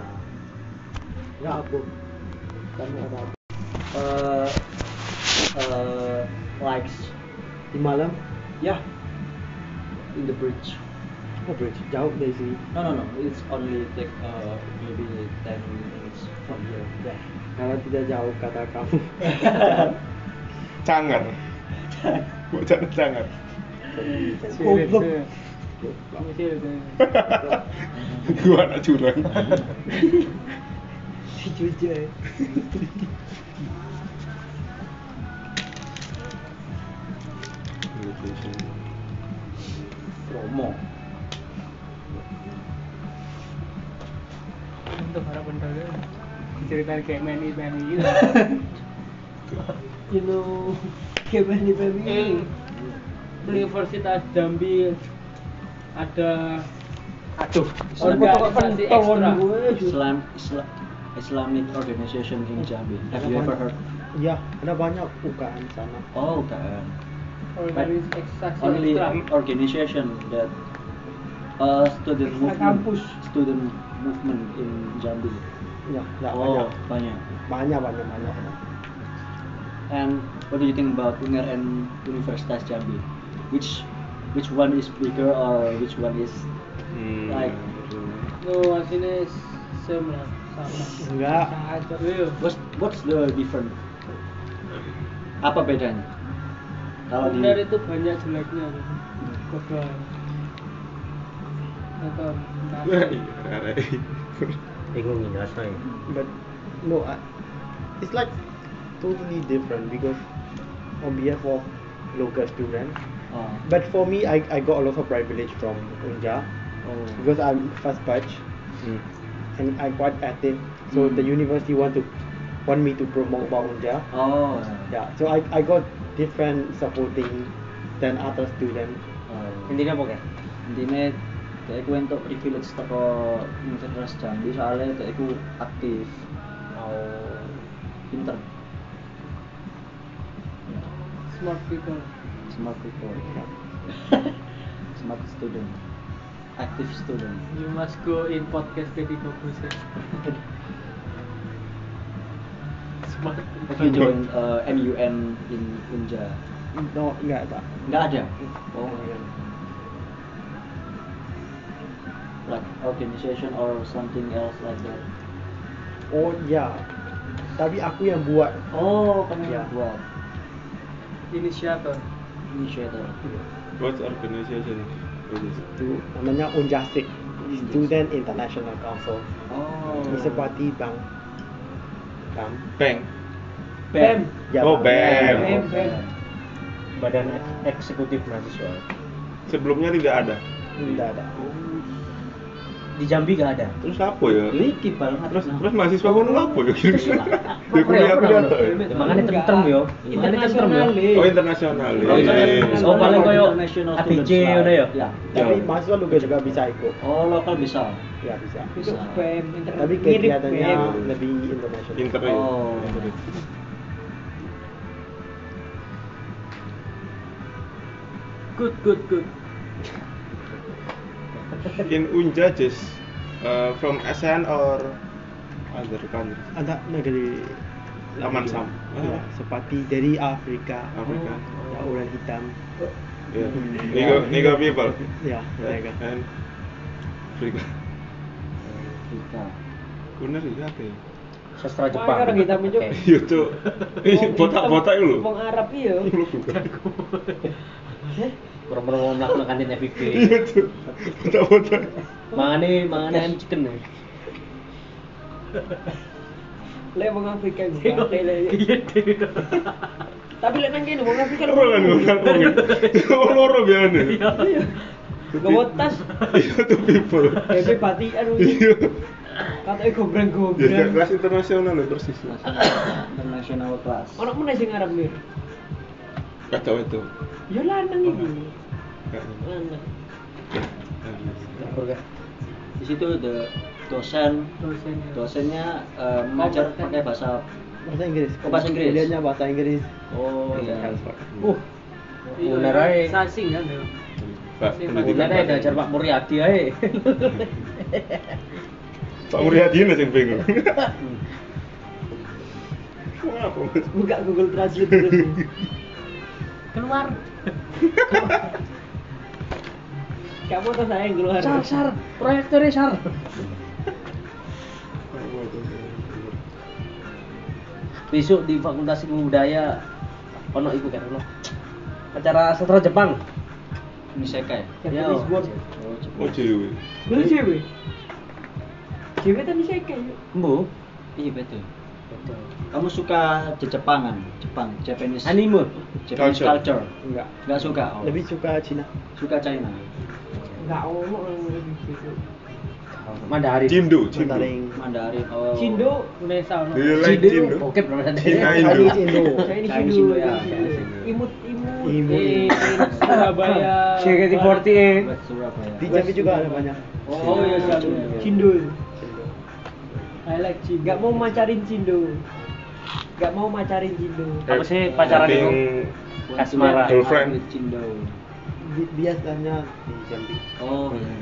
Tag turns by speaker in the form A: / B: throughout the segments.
A: nggak
B: Ya,
A: abu kami ada abu Eh, eh, likes
B: di malam
A: ya in the bridge
B: oh bridge jauh dari sini
A: no no no it's only take uh, maybe 10 minutes from here yeah.
B: Ya. karena tidak jauh kata kamu
C: Cangar. Bocah cangar.
B: Goblok.
C: Gua anak curang.
B: jujur
A: promo
D: untuk para pendengar diceritain kayak main event gitu
B: you know gimana nih baby
D: Eh, Universitas Jambi ada
B: aduh
D: Orang foto
B: organisasi
D: kok pentol
B: ekstra.
D: gue,
A: Islam, Islam Islamic organization in Jambi have you ever heard
B: Iya, ada banyak UKM sana.
A: oh kan
D: organisasi
A: only
D: ekstra
A: organization that uh, student
D: Extra
A: movement
D: kampus.
A: student movement in Jambi
B: Iya, ya,
A: oh
B: banyak.
A: banyak
B: Banyak, banyak, banyak.
A: and what do you think about UNER and Universitas Jambi which which one is bigger or which one is
C: Hmm.
A: Like.
D: no sini same lah sama
B: Enggak.
D: Sama aja. Iya.
A: what's what's the difference apa bedanya kalau di
D: Benar itu banyak jeleknya gitu. Goblok. Atau
C: Wah, iya, arek.
E: Bingung ini rasanya.
B: But no, I, it's like totally different because on behalf of local students.
A: oh,
B: But for me, I, I got a lot of privilege from Unja
A: oh.
B: because I'm first batch
C: Hmm.
B: and I'm quite active. So
A: Mm.
B: the university want to want me to promote about Unja.
A: Oh.
B: Yeah, so I, I got different supporting than other students.
A: Oh.
E: Intinya apa kan?
A: Intine dhek iku entuk privilege teko Universitas Jambi soalnya dhek iku aktif
E: Oh.
A: pinter
D: smart people.
A: smart people smart student active student
D: You must go in podcast ya. Deddy Corbuzier. Smart
A: have
D: people.
A: you joined uh, MUN in Unja
B: No, enggak tak. Hmm.
A: nggak ada oh like organization or something else like that
B: Oh ya, tapi aku yang buat.
A: oh kamu
B: Ya.
E: iya.
A: yang buat
D: Inisiator.
A: initiator
C: What organization is this?
B: Itu namanya Unjastic, Student International Council.
A: oh
B: Ini seperti bank. Bank.
C: Bank.
A: BEM
C: Oh, BEM.
D: BEM.
E: Badan eksekutif mahasiswa. Hmm.
C: Sebelumnya tidak ada.
B: Tidak ada.
E: Di Jambi gak ada.
C: Terus apa ya?
A: Liki banget
C: Terus
A: nah.
C: terus mahasiswa ngono apa ya? Ya
E: Apa ya,
C: kuliah
E: apa
C: kuliah
E: dong?
C: toh ya?
E: Makanya tentrem yo. Intinya tentrem yo.
C: Oh, internasional.
A: Oh, internasional.
E: Oh, paling koyo
A: International
E: ATJ
A: students
E: udah ya?
A: lah. Ya.
B: Tapi
C: Ya.
B: mahasiswa juga juga bisa ikut.
A: Oh, lokal bisa.
B: Ya bisa.
D: Itu
A: Bisa.
D: BEM. inter-
B: Tapi
D: mirip
B: kegiatannya
D: BEM.
B: lebih internasional.
C: Inter.
A: Oh.
D: Good, good, good.
C: In Unja just uh, from ASEAN or other country?
B: Ada negeri
C: Taman Sam.
B: Ya, seperti dari Afrika.
C: Afrika.
B: Ya, orang hitam.
C: Yeah. Nigo Nigo Iya. people.
B: Ya, mereka.
C: And Afrika.
A: Kita.
C: Bener ya apa ya?
D: Wah,
E: Sastra Jepang.
D: orang hitam hijau.
E: Oke.
C: Iya tuh. Ih, botak-botak itu
D: Wong
C: loh.
D: Arab iya.
E: Kurang-kurang mau melakukan kantin FIB.
C: Iya tuh. Botak-botak.
E: Mangane mangane ayam chicken ya.
D: Lek wong Afrika iku bangke, lek. Tapi lek nang kene wong Afrika
C: Apa kan orang ngomong? Orang loro biasanya.
D: Gowo tas,
C: Iya tuh people.
D: bebe batikan
C: Iya.
D: katanya
C: Ya kayak
D: gombrang-gombrang.
C: kelas internasional loh persis.
A: National- International class.
D: Ono meneh sing ngarep mir.
C: Kacau itu.
D: Ya lanang iki.
C: Kayaknya.
D: Lanang.
E: Kurang.
A: Di situ the dosen
D: Dosen.
A: dosennya eh, mengajar pakai bahasa
B: Bahasa Inggris.
A: Oh, bahasa Inggris.
B: Kuliahnya bahasa Inggris.
A: Oh iya.
E: Uh,
D: Iya,
E: Bener ae.
D: Sasing kan ya.
C: Pak,
D: Sing
C: pendidikan
E: Bulan ada
C: Pak.
E: diajar Pak Muryadi ae.
C: Pak Muryadi ini sing bingung. Kenapa? Mas?
A: buka Google Translate dulu
D: keluar gak foto saya yang keluar
E: Sar, sar, proyektornya sar. Besok di Fakultas Ilmu Budaya ono iku kan ono. Acara sastra Jepang. Iya.
A: Nisekai
D: Japanese
E: Yo.
D: word
A: oh
C: Oh,
A: Jepang
C: dewe.
D: dulu cewek cewek tapi saya kayak gitu?
E: Embo.
A: iya betul kamu suka Jepangan Jepang Japanese
E: Anime.
A: Japanese
C: Culture.
A: culture
B: Enggak.
A: nggak suka oh.
B: Lebih suka Cina.
A: suka China
D: nggak ngomong orang gitu
E: Mandarin.
C: Cindo, Cindo.
B: Mandarin.
A: Mandarin oh
D: Cindo Indonesia
C: Do you
A: Iya.
D: no
C: like
E: Cindo.
C: Cindo?
E: Oke, bro.
C: Cina Indo.
B: Chinese Indo.
D: saya ini
A: Chinese
D: Cindo
A: Indo, ya,
D: ya
A: Chinese
C: Indo.
D: imut imut
B: Imut.
D: Eh, Surabaya
E: JKT48.
A: Buat Surabaya
B: Di Jambi juga ada banyak.
A: oh iya satu
D: Cindo
B: Cindo.
D: I like Cindo gak mau macarin Cindo gak mau macarin Cindo
C: Eh,
E: Apa sih pacaran itu?
C: Having-
E: Asmara.
C: Girlfriend.
A: Cindo
B: Bi- Biasanya di Jambi.
A: oh iya.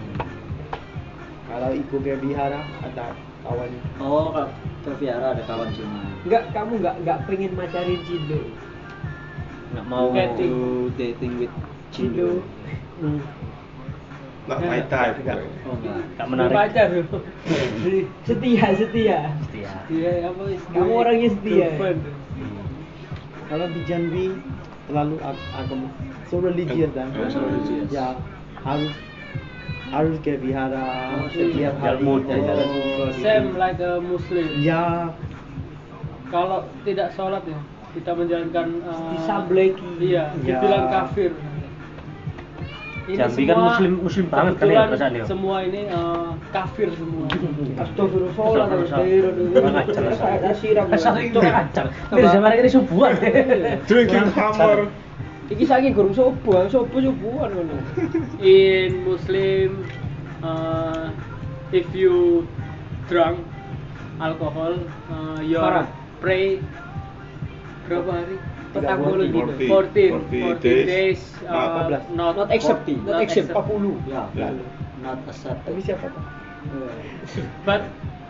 B: Kalau ibu ke Bihara ada kawan.
A: oh Kak ke Viara ada kawan Cina
D: Enggak, kamu enggak enggak pengen macarin Cindo.
E: Enggak mau.
D: Dating.
A: Do dating with
D: Cindo.
A: Cindo
E: Hmm.
C: Not my type. bro.
A: oh enggak
E: Enggak
D: Lu
E: menarik.
D: Pacar lu. setia, setia.
A: Iya.
E: Setia.
D: Setia apa is- Kamu orangnya setia.
B: Kalau di Jambi terlalu ag- agama so religious kan.
C: Oh, so religious.
B: Ya harus harus ke Bihara
A: Oh,
B: setiap hari
E: Jalmut.
B: jalan-jalan
D: Oh,
B: juga gitu.
D: Same like a
E: Iya.
D: Muslim.
B: Ya
D: Kalau tidak sholat ya, kita menjalankan uh,
B: Disableki.
D: Iya,
B: Ya.
D: dibilang kafir.
E: Jambi kan muslim muslim banget kan ya
D: kebetulan
E: perasaan ya.
D: Semua ini uh, kafir semua.
E: Mir kan zaman ini subuhan.
C: Drinking hammer.
D: Iki saiki gurung sopo, sopo sopoan ngono. In Muslim uh, if you drunk alcohol uh, your
B: Parah.
D: pray berapa hari?
B: Tidak
D: Petang puluh dino.
C: 40,
D: 14
C: days.
D: 40 days uh,
B: 14.
D: not, not
A: accept,
B: not accept. 40.
A: ya
C: Ya.
A: not accepted
B: Tapi siapa Pak?
D: But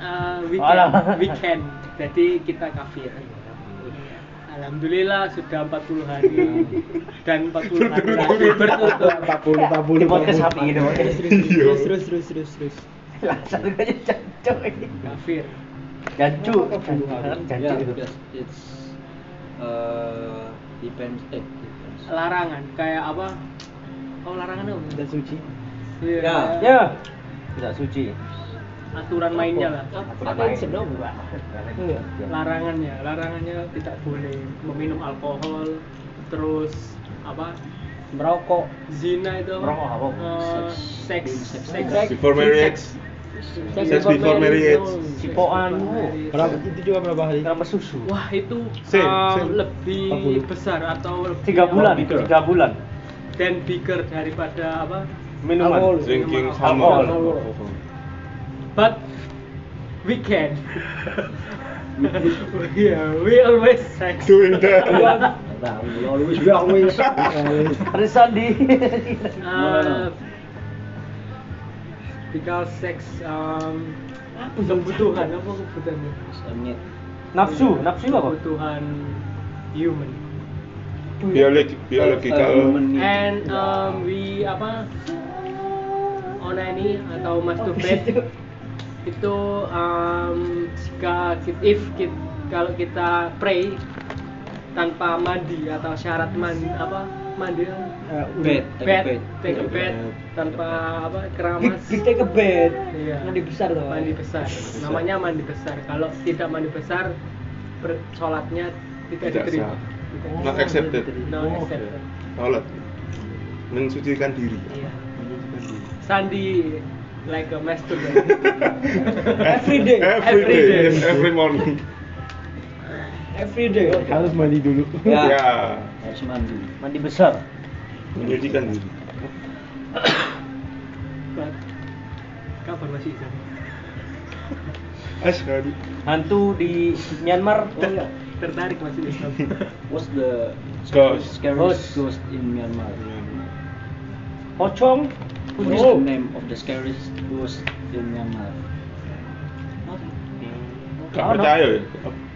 D: uh, we can,
E: Alah.
D: we can. Jadi kita kafir. Alhamdulillah sudah 40 hari dan 40 hari lagi bertutur.
B: 40 40.
E: Di podcast sapi gitu.
C: Iya.
D: Terus terus terus terus terus
E: Langsung aja jancuk.
D: kafir.
E: Jancuk.
A: ya
E: Jancuk gitu.
A: because it's uh, depends eh depends.
D: Larangan kayak apa? Oh larangan apa?
B: Dan suci.
D: Iya.
A: Ya.
E: Ya. Tidak suci.
D: Aturan mainnya lah.
E: Aturan main.
B: Iya.
D: Larangannya, larangannya tidak boleh meminum alkohol, terus apa?
E: Merokok.
D: Zina itu apa?
E: Merokok apa?
D: Eh,
A: Seks.
D: seks,
A: Seks.
D: seks,
C: Before marriage.
D: Sex
C: Sex before marriage.
D: no.
E: Cipokan.
D: Sex before marriage.
B: Berapa itu juga berapa hari?
E: Kenapa susu?
D: Wah itu
C: Same,
D: um,
C: same.
D: lebih
B: 40.
D: besar atau lebih
E: Tiga
B: Oh,
E: bulan.
B: gitu.
C: Bigger.
E: Tiga bulan.
D: dan bigger daripada apa?
E: Minuman.
C: Drinking
E: Alkohol.
C: hammer.
D: But we can. yeah, we always sex.
C: Doing that.
D: But,
A: Nah, we always we always
E: Ada sandi.
D: uh, because sex um, kebutuhan apa kebutuhannya?
A: Emit.
E: Nafsu. Nafsu apa?
D: Kebutuhan human.
C: Biologi- Biological.
A: Human need.
D: And um, we apa onani
B: Oh,
D: atau
E: Oh,
B: gitu.
D: masturbate itu um, jika ki- if ki- kalau kita pray tanpa mandi atau syarat mandi apa mandi
B: Eh, udah.
A: Bed, take a
D: bed
A: bed.
D: take a
C: Take a
D: bed
C: bath.
D: tanpa apa keramas
E: ke bed.
D: Iya.
E: mandi besar dong.
D: mandi besar namanya mandi besar kalau tidak mandi besar per- sholatnya
C: Tidak
D: tidak diterima
C: sah. Not accepted.
D: no
B: Oh,
D: accepted.
C: Tolak. Mensucikan diri.
D: Iya. Sandi like a master every day
C: Every day, every morning.
D: every day
B: Harus mandi dulu.
A: Ya.
C: Ya,
A: Harus mandi.
E: Mandi besar.
C: menyucikan diri.
D: But, kapan masih izin
C: Asyhadu.
E: Hantu di Myanmar.
B: Oh, iya.
D: tertarik masih Islam
A: What's the
C: Ghost.
A: scariest
E: Ghost.
A: ghost in Myanmar?
E: Pocong.
B: Oh.
A: What is the name of the scariest ghost in Myanmar?
C: Gak
E: Ono.
C: percaya ya?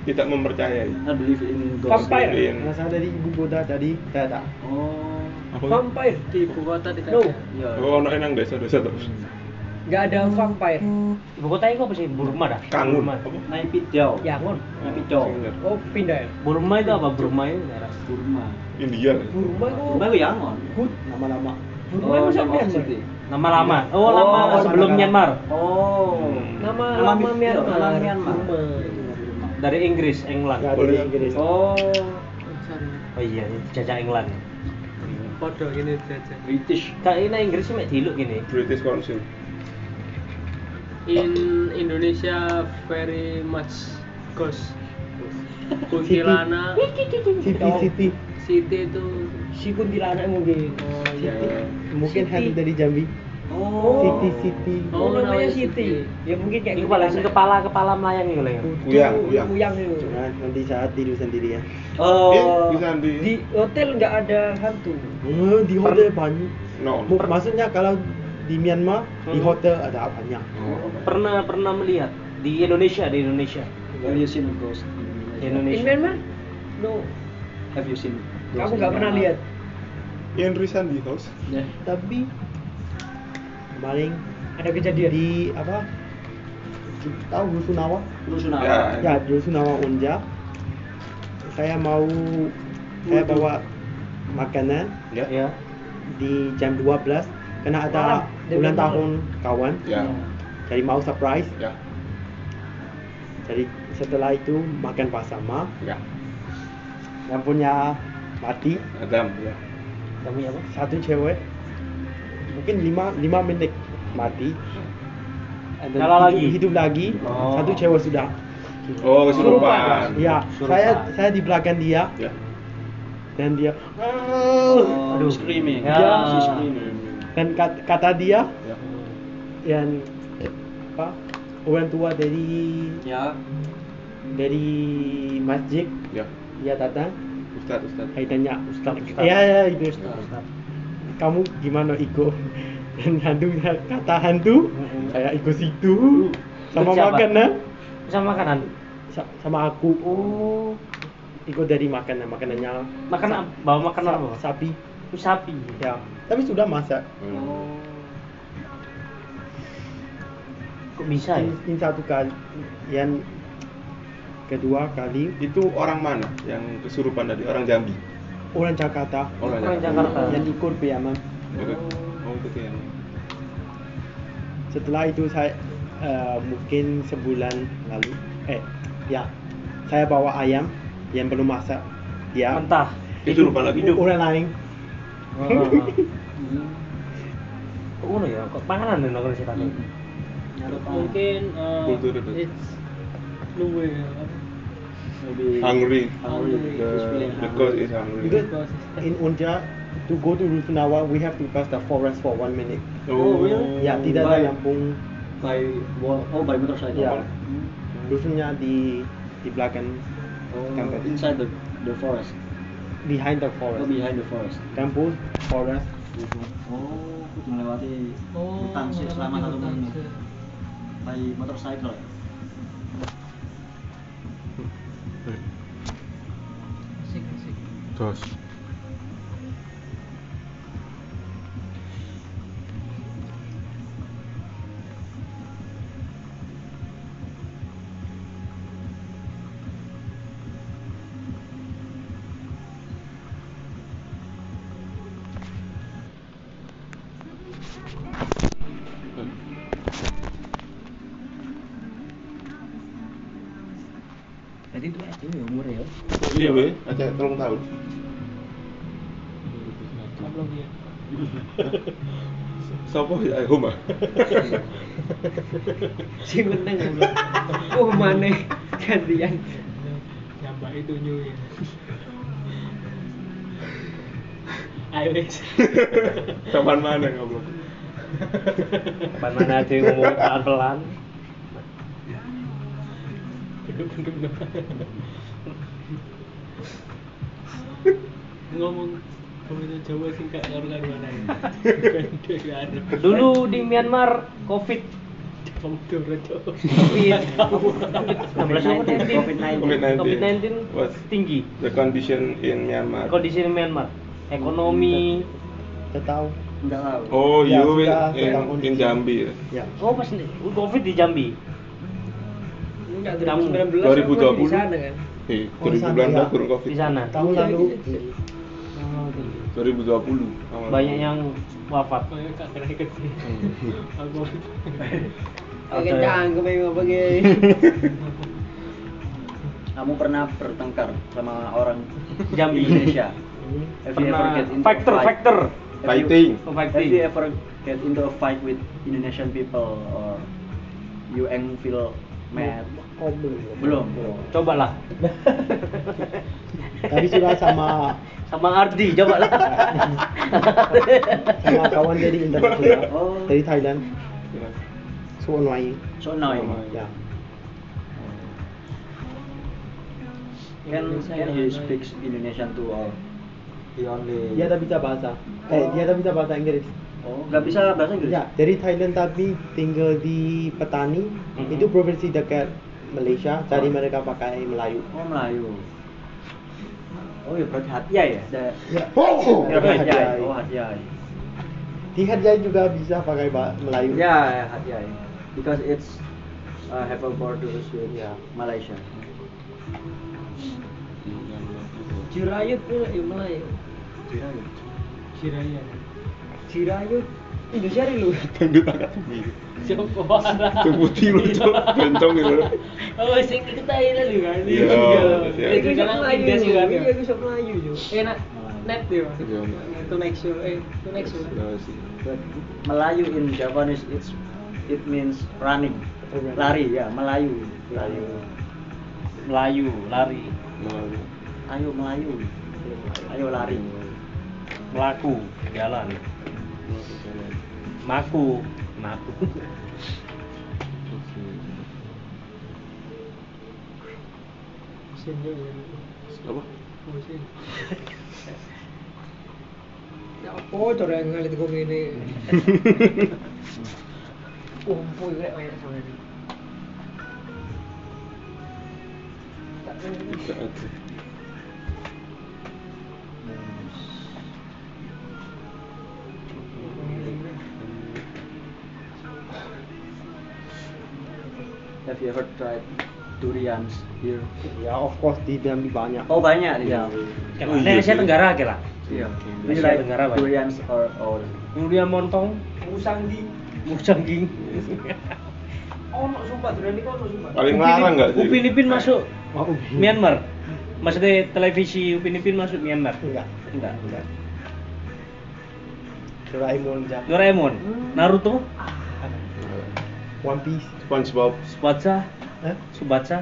C: Tidak mempercayai.
A: I believe in
F: Kamu
A: ghost.
F: Sampai.
C: Believe in.
B: Nggak sadar dari ibu kota dari data.
A: Oh,
C: Apa?
F: Vampire.
D: di ibu kota tidak
F: No.
D: ada
A: iya.
C: Oh, ono enang desa-desa terus.
F: Nggak ada vampire.
E: Ibu kota itu apa sih? Burma dah?
C: Kangun.
E: Burma.
C: Apa?
A: Naypyidaw.
F: Yangon.
A: Naypyidaw.
C: Singer.
F: Oh pindah ya.
E: Burma itu apa? Burma itu daerah.
A: Burma.
C: India.
F: Burma itu.
A: Burma itu Yangon.
F: Good.
B: Nama-nama.
F: Burma itu
A: Oh,
F: sama
A: Nama
F: Myanmar.
A: city.
E: Nama lama.
B: Iya.
E: Oh,
A: Oh,
E: lama
A: lama
E: sebelum
B: kan.
E: Myanmar.
A: Oh.
F: Nama
A: Nama
F: lama
A: Myanmar.
F: Myanmar.
A: Nama Myanmar.
F: Burma.
E: Dari Inggris, England.
B: Nggak ada di
C: Boleh.
B: Inggris.
A: Oh.
D: sorry
E: Oh iya, jajah England.
D: podo ini jajah
A: British.
E: Kayak ini Inggris sih mek diluk gini.
C: British Council.
D: in Indonesia very much ghost kuntilanak
B: City City.
D: city itu
F: Si kuntilanak mungkin.
D: oh iya iya.
B: Mungkin habis dari Jambi.
A: Oh.
B: City City.
D: Oh,
F: Oh, namanya
D: namanya
F: Siti. Ya mungkin kayak
E: Ini kepala sing kepala kepala melayang gitu ya.
C: Kuyang, kuyang.
F: Uyang, uyang itu.
B: Jangan nanti saat tidur ya. sendirian.
C: Eh,
A: Oh.
C: bisa di
F: Di hotel nggak ada hantu.
B: Oh, di hotel banyak.
C: no.
B: Mu- Maksudnya kalau di Myanmar di
E: Oh, Hmm.
B: hotel ada apanya?
E: Pernah pernah melihat di Indonesia di Indonesia
A: Have you seen a ghost? in
E: di
A: Indonesia?
F: In
E: Indonesia.
F: Myanmar? No,
A: Have you seen?
F: aku nggak pernah lihat.
C: In Risandi House.
A: Yeah.
B: Tapi paling
F: Ada kejadian.
B: di apa? Tahu Rusunawa?
A: Rusunawa.
C: Ya.
B: Ya, Rusunawa Unja. Saya mau saya bawa makanan
C: Ya.
E: Ya.
B: di jam 12 karena ada
F: Malam, jam
B: ulang
F: 12.
B: tahun kawan.
C: Ya.
B: Jadi mau surprise.
C: Ya.
B: Jadi setelah itu makan bersama.
C: Ya.
B: Yang punya mati
C: Adam. Ya.
E: Kamu apa?
B: satu cewek mungkin lima lima menit mati And then hidup,
E: Nyala lagi?
B: hidup lagi
E: Oh.
B: satu cewek sudah
C: Oh,
E: Kesurupan.
C: kesurupan.
B: ya
E: Suruh
B: saya
E: pak.
B: saya di belakang dia
C: Ya.
B: dan dia
A: Oh,
E: Aduh.
A: screaming.
E: Ya.
A: She's screaming.
B: dan kat- kata dia
C: Ya.
B: yang apa orang tua dari
A: Ya.
B: dari masjid
C: Ya.
B: dia datang
C: Ustaz, Ustaz.
B: saya tanya
E: Ustaz, Ustaz.
B: ya ya itu
A: Ustaz.
B: kamu gimana ikut dan hantunya kata hantu
E: Mm-mm.
B: saya ikut situ sama
E: Siapa?
B: makanan
E: Bisa makanan.
B: Sa- sama aku
E: Oh,
B: ikut dari makanan makanannya
E: makanan apa? bawa makanan
B: sa-
E: apa?
B: sapi
E: Sapi.
B: ya tapi sudah masak
C: Hmm.
E: Kok bisa ya?
B: ini, ini satu kali yang kedua kali
C: Itu orang mana yang kesurupan tadi? Orang Jambi.
B: orang Jakarta
E: Orang Jakarta.
B: yang ikut piaman
C: Ikut. Oh, ikut ya.
B: setelah itu saya eh, mungkin sebulan lalu eh ya saya bawa ayam yang belum masak ya
E: Mentah.
C: Kesurupan lagi.
B: hidup orang lain
E: Oh, Kok ngono ya? Kok panganan nih nongkrong cerita
A: Hmm. Nyarup mungkin
D: mungkin eh,
C: Kultur itu.
D: it's luwe ya, apa?
A: maybe
C: Hungry.
A: Hungry.
D: Hungry.
A: She's
C: The,
A: feeling
C: the
A: hungry.
C: ghost is hungry.
B: Because in Unja, to go to Rusunawa, we have to pass the forest for one minute.
A: Oh, really?
B: Ya, tidak
A: Baik.
B: ada lampung.
A: By wall. Oh, by motorcycle.
B: Ya.
A: Hmm.
B: Rusunnya di di belakang,
A: Oh,
B: Tempat.
A: inside the the forest.
B: behind the
A: Oh,
E: iya.
B: forest.
A: behind the forest.
B: Kampus, forest.
A: Oh, aku melewati
D: Oh,
A: hutan sih selama
D: melewati
A: satu
D: hutan,
A: menit.
D: sih.
A: By motorcycle. ya?
D: Asik, asik.
C: Ghost.
E: Jadi itu aja ya umurnya ya.
C: Iya, weh. Ada tolong tahun.
D: Goblok ya.
C: Siapa ya? Homa.
D: si meneng goblok. oh mana gantian nyambak itu nyu ya ayo wes
C: Taman mana ngobrol?
E: Pan mana aja yang ngomong pelan-pelan.
D: ngomong ngomong Jawa sih gak karuan mana ya
E: Dulu di Myanmar COVID
C: COVID-19.
E: COVID-19
C: Was-
E: tinggi
C: The condition in Myanmar.
E: kondisi di Myanmar ekonomi
B: Kita tahu.
A: Enggak tahu.
C: Oh,
B: Ya,
C: you in,
B: sudah,
C: in,
B: tentang
C: in
B: kondisi.
C: Jambi. ya?
B: Ya.
E: oh pas nih covid di Jambi
F: Enggak,
E: Kamu.
F: 2019 kan masih
C: 2020.
F: di sana kan.
C: Eh,
B: Oh, di
C: 2019
B: sana, ya.
C: kurang COVID.
E: di sana
B: Tahun
F: Iya,
B: lalu
F: gitu.
C: 2020. awal.
E: banyak yang wafat
D: Oke, canggung pengen apa guys?
A: Kamu pernah bertengkar sama orang
E: Jambi.
A: Indonesia? Have you ever
E: pernah
A: get into a
E: factor
A: fight?
E: factor
A: Have you-
C: Fighting.
A: Have you
E: fighting
A: ever get into a fight with Indonesian people or you ang feel mad?
B: Oh, belum.
A: Belum.
E: cobalah
B: Tadi sudah sama
E: sama Ardi cobalah
B: sama kawan dari Indonesia.
A: Oh.
B: Dari Thailand.
C: Iya.
B: So annoying.
A: So annoying.
B: Ya.
A: Can can he speaks Indonesian to all?
B: Dia tak bisa bahasa. Eh, dia tak bisa bahasa Inggris.
A: Oh, nggak bisa bahasa Inggris.
B: Ya, dari Thailand tapi tinggal di petani
E: Mhm.
B: itu provinsi dekat Malaysia. Jadi mereka pakai Melayu.
A: Oh Melayu. Oh ya berarti hatiah ya? Da-
B: Ya. Oh,
A: ya, hatiah.
B: dihargai.
A: Oh hatiah.
B: Dihargai juga bisa pakai bah- Melayu.
A: Ya ya, hatiah. Because it's uh, have a borders with
B: Ya.
A: Malaysia.
F: Jirayut pula ya Melayu. Jirayut. Jirayut. Indonesia hari lu.
C: Tunggu tak gitu. Tunggu putih lu Cok.
E: Iya.
C: bencong gitu.
D: Oh, sing ikut aja lu kan?
C: Iya, iya.
D: Iya,
F: Iku
D: gue
F: iso
D: jalan
F: Melayu.
D: Inggris juga.
F: Iya, iku iso Melayu yo.
D: Eh, nak net yo.
C: Iya, nak.
D: To make sure, eh, to make sure.
C: Ya, sih.
A: But Melayu in Japanese it's it means running.
B: Oh, running.
A: Lari ya, Melayu.
B: Melayu.
E: Melayu lari
C: Melayu.
A: Ayo Melayu. Ayo lari.
E: melaku jalan maku maku
F: Sini.
C: Apa?
F: Ya apa cara yang ngalit kok ngene.
D: Oh,
F: Umpu iku rek kaya sama ini.
C: Tidak ada.
A: Have you ever tried durians here?
B: Ya, of course di Jambi banyak.
A: Oh banyak di
B: Ya.
A: sini.
E: Kayak mana Asia Tenggara kira
A: Iya. Do you
E: Asia
A: like
E: Tenggara banyak.
A: durians or or
E: kemudian montong
F: Musanggi.
E: musangking
F: Ono sumpah durane kok ono sumpah.
C: Paling larang nggak sih?
E: Upin Ipin masuk
B: Mau
E: Myanmar maksudnya televisi Upin Ipin masuk Myanmar
B: Enggak.
E: enggak
B: Enggak. Doraemon Jap-
E: Doraemon Naruto
B: One Piece.
C: SpongeBob.
E: Subatsa
B: Hah?
E: Subatsa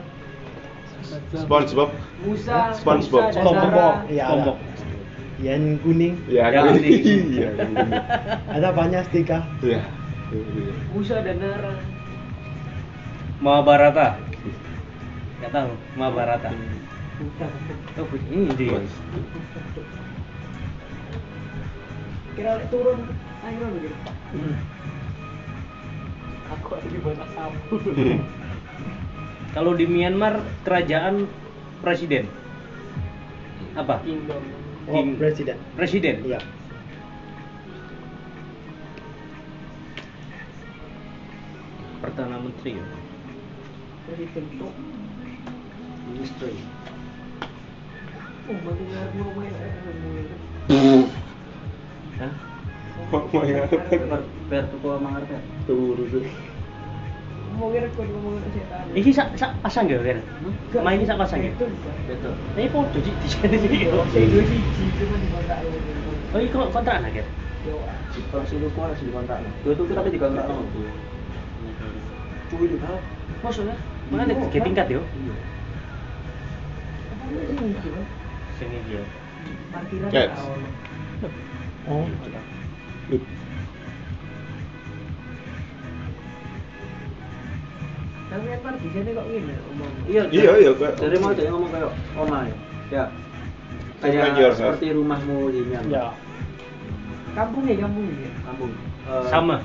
C: SpongeBob.
F: Musa,
C: SpongeBob.
F: Musa,
B: Tombok.
F: Dasara.
B: Ya.
E: Tombok
B: Yang kuning.
C: Ya,
E: Ya,
C: aku-
E: ini.
C: Iya, yang bener.
B: Ada banyak stika.
C: Iya.
F: Musa dan Nara.
E: Mahabharata nggak tahu Mahabharata oh ini dia
F: Kira lek turun ayo lho. Hmm. Aku lagi banyak sapu.
E: kalau di Myanmar kerajaan presiden apa
F: Kingdom.
B: Oh,
E: King.
B: presiden.
E: presiden
B: Iya.
E: perdana menteri ya?
F: Jadi bentuk.
A: ministry?
F: Oh, mati ngarep ngomongin
E: Hah?
C: Oh my god.
A: Ber ber tuku mangarep.
C: Tuh, Rudy.
F: Ngomongin rekod ngomongin setan.
E: ini sak sak pasang gak Ren? Main ini sak pasang ya?
F: Betul, Kak.
A: Betul.
E: Ini foto di di sana sih.
F: Yo, saya dua siji cuma di kotak ini.
E: Oh ini kalau kontrak anak ya?
F: Yo, ah.
A: Kalau situ kuat sih kontrak. Dua tuku tapi di kontrak. Cuy juga.
E: Maksudnya? Mana ada tiga tingkat yo?
A: Iya.
F: Apa ini, Cuma?
E: Sini dia.
F: Parkiran
C: Yes.
F: tak ono.
B: Oh.
F: Nang Myanmar di sini kan kok gini omong.
A: Iya,
C: Iya,
A: Cak.
C: iya, Kak.
A: Dari mau dia ngomong kayak oma ya. Ya.
C: Kayak
A: Kayak
C: yourself.
A: seperti rumahmu di
B: Ya.
A: Myanmar.
F: Kampung ya kampung ya.
A: Kampung. Eh,
E: Sama.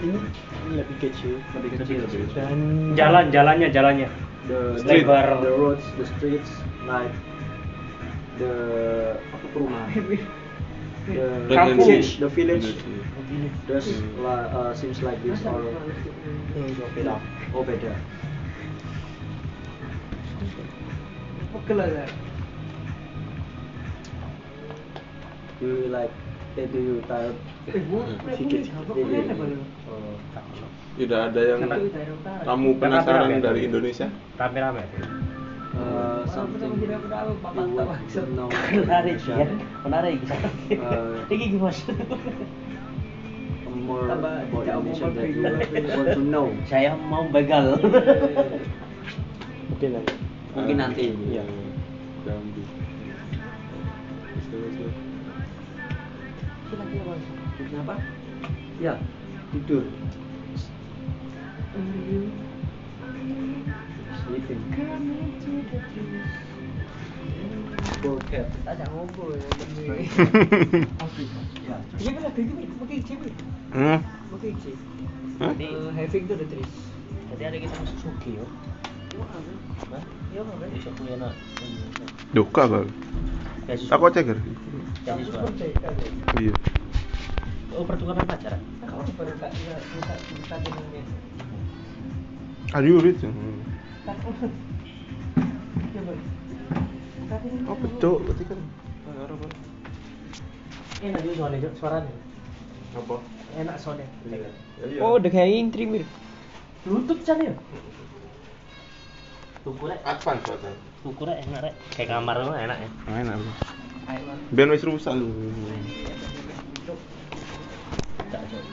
B: ini ini lebih kecil
A: lebih kecil
C: Lebih kecil.
B: dan
G: Jalan, jalannya, jalannya.
A: the
G: Street.
A: the- the roads the streets like the apa perumahan the
C: Kampung.
A: village the village
B: Begini.
A: does li- uh, seems like this or
B: Hmm, oke lah.
E: Nah.
A: oh beda
D: Pegel aja.
A: do you like eh, do you tired
D: Eh, gua
A: Sikit.
D: apa lu?
B: Oh, tak tahu.
C: Tidak ada yang
G: Karena-
D: Itu daerah utara.
C: kamu
G: Karena
C: penasaran
G: berapa ya?
C: dari Indonesia?
G: Rame-rame.
A: uh,
D: Walaupun
A: something
D: aku tidak aku tahu,
A: you
D: bapak tak
A: want
D: maksud.
A: to know
E: menarik ya
A: Indonesia?
E: menarik
A: Eh.
E: ini gimana
A: more
D: Tambah tidak
A: about Indonesia
D: omongan
A: that you
D: pribadi.
A: want to know
E: saya mau begal
B: Mungkin nanti.
A: mungkin nanti
B: Iya.
C: Jambi. Terus, terus, terus.
A: kenapa ya tidur sleeping forget
D: Tak ada ngobrol ya. bener.
A: ya
D: Ini kan lagi gini, pakai hijau, nih.
C: Hmm?
D: pakai hijau.
C: Hah?
D: Eh, having itu ada tris.
E: jadi ada kita masuk suki yo Hah?
D: Iya, apa?
E: Bisa kuliah nak
C: Duka bang.
E: Beasiswa.
C: Aku cek ya?
D: Kampus
E: Beasiswa.
D: merdeka. ya.
C: Iya.
E: oh pertukaran pacaran
D: Kamu baru tak bisa bisa cerita dengan
C: Are you rich? Oh betul, berarti kan.
G: Enak juga soalnya, Jok, suaranya.
C: Apa? Iya. Ya,
G: Enak soalnya.
D: Oh, udah kayak intri mir.
G: Lutut sana ya?
E: tuku rek
C: Advan soalnya.
E: tuku rek enak rek kayak kamar lu enak ya
C: Ah, Enak bro. Ben wis rusak lu.
E: tak jauh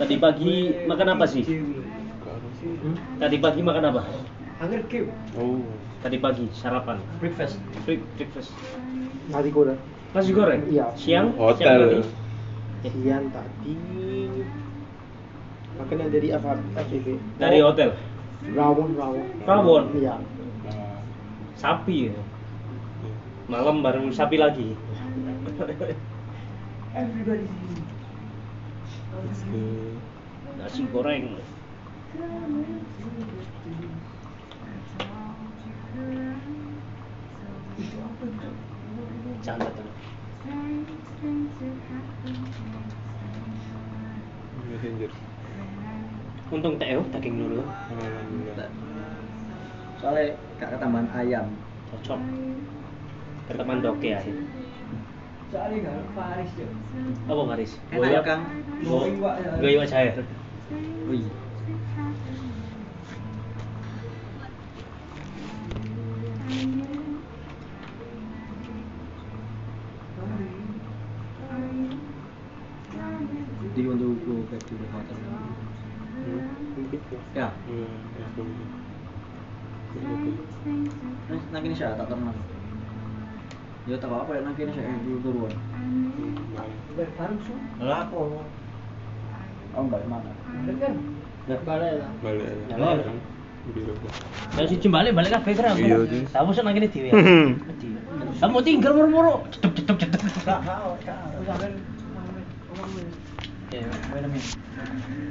E: Tadi pagi makan apa sih? Tadi pagi makan apa?
D: Hanger Q.
C: Oh.
E: Tadi pagi sarapan.
A: breakfast
E: Break- Breakfast.
B: Nanti kuda.
E: Nasi goreng.
B: Iya.
E: Siang. Siang tadi?
C: Hotel. Nah,
B: Siang tadi makanan dari FTV.
E: Dari
A: Oh.
E: hotel.
B: Rawon, rawon.
E: Rawon?
B: Iya.
E: Sapi. ya? Malam baru sapi lagi.
D: Everybody.
E: Nasi goreng. Canda tuh.
C: Messenger. Iya,
E: Untung TO daging dulu.
C: Alhamdulillah.
A: soalnya gak ketambahan ayam
E: Cocok. Ke teman doke ya.
D: Soalnya nggak ada Paris ya.
E: Apa Maris?
A: Enak ya, Kang?
E: Gue
D: Ngomong, Wak, ya.
E: gue iwak saya.
A: oh iya do you want to go back to the hotel
B: Hmm, Mungkin ya.
A: ya
C: Hmm, ya, boleh.
A: Nah, nang kene saya tak tenang. Ya tak apa ya nang kene saya dulu turun.
C: iya,
D: Balik bareng su.
E: Lah,
D: Oh.
A: Oh balik mana?
D: Balik kan?
E: Nah.
D: Balik lah.
C: Balik ya.
E: Ya, balik.
C: Kan? Di Rogo.
E: saya sih balik balik kafe kan.
C: Iya, Jis.
E: Kamu senang ini dia. Kamu tinggal moro-moro. Cetup cetup cetup.
D: Terus sampean ngomongin- ngomongin.
E: Ya, wait a minute.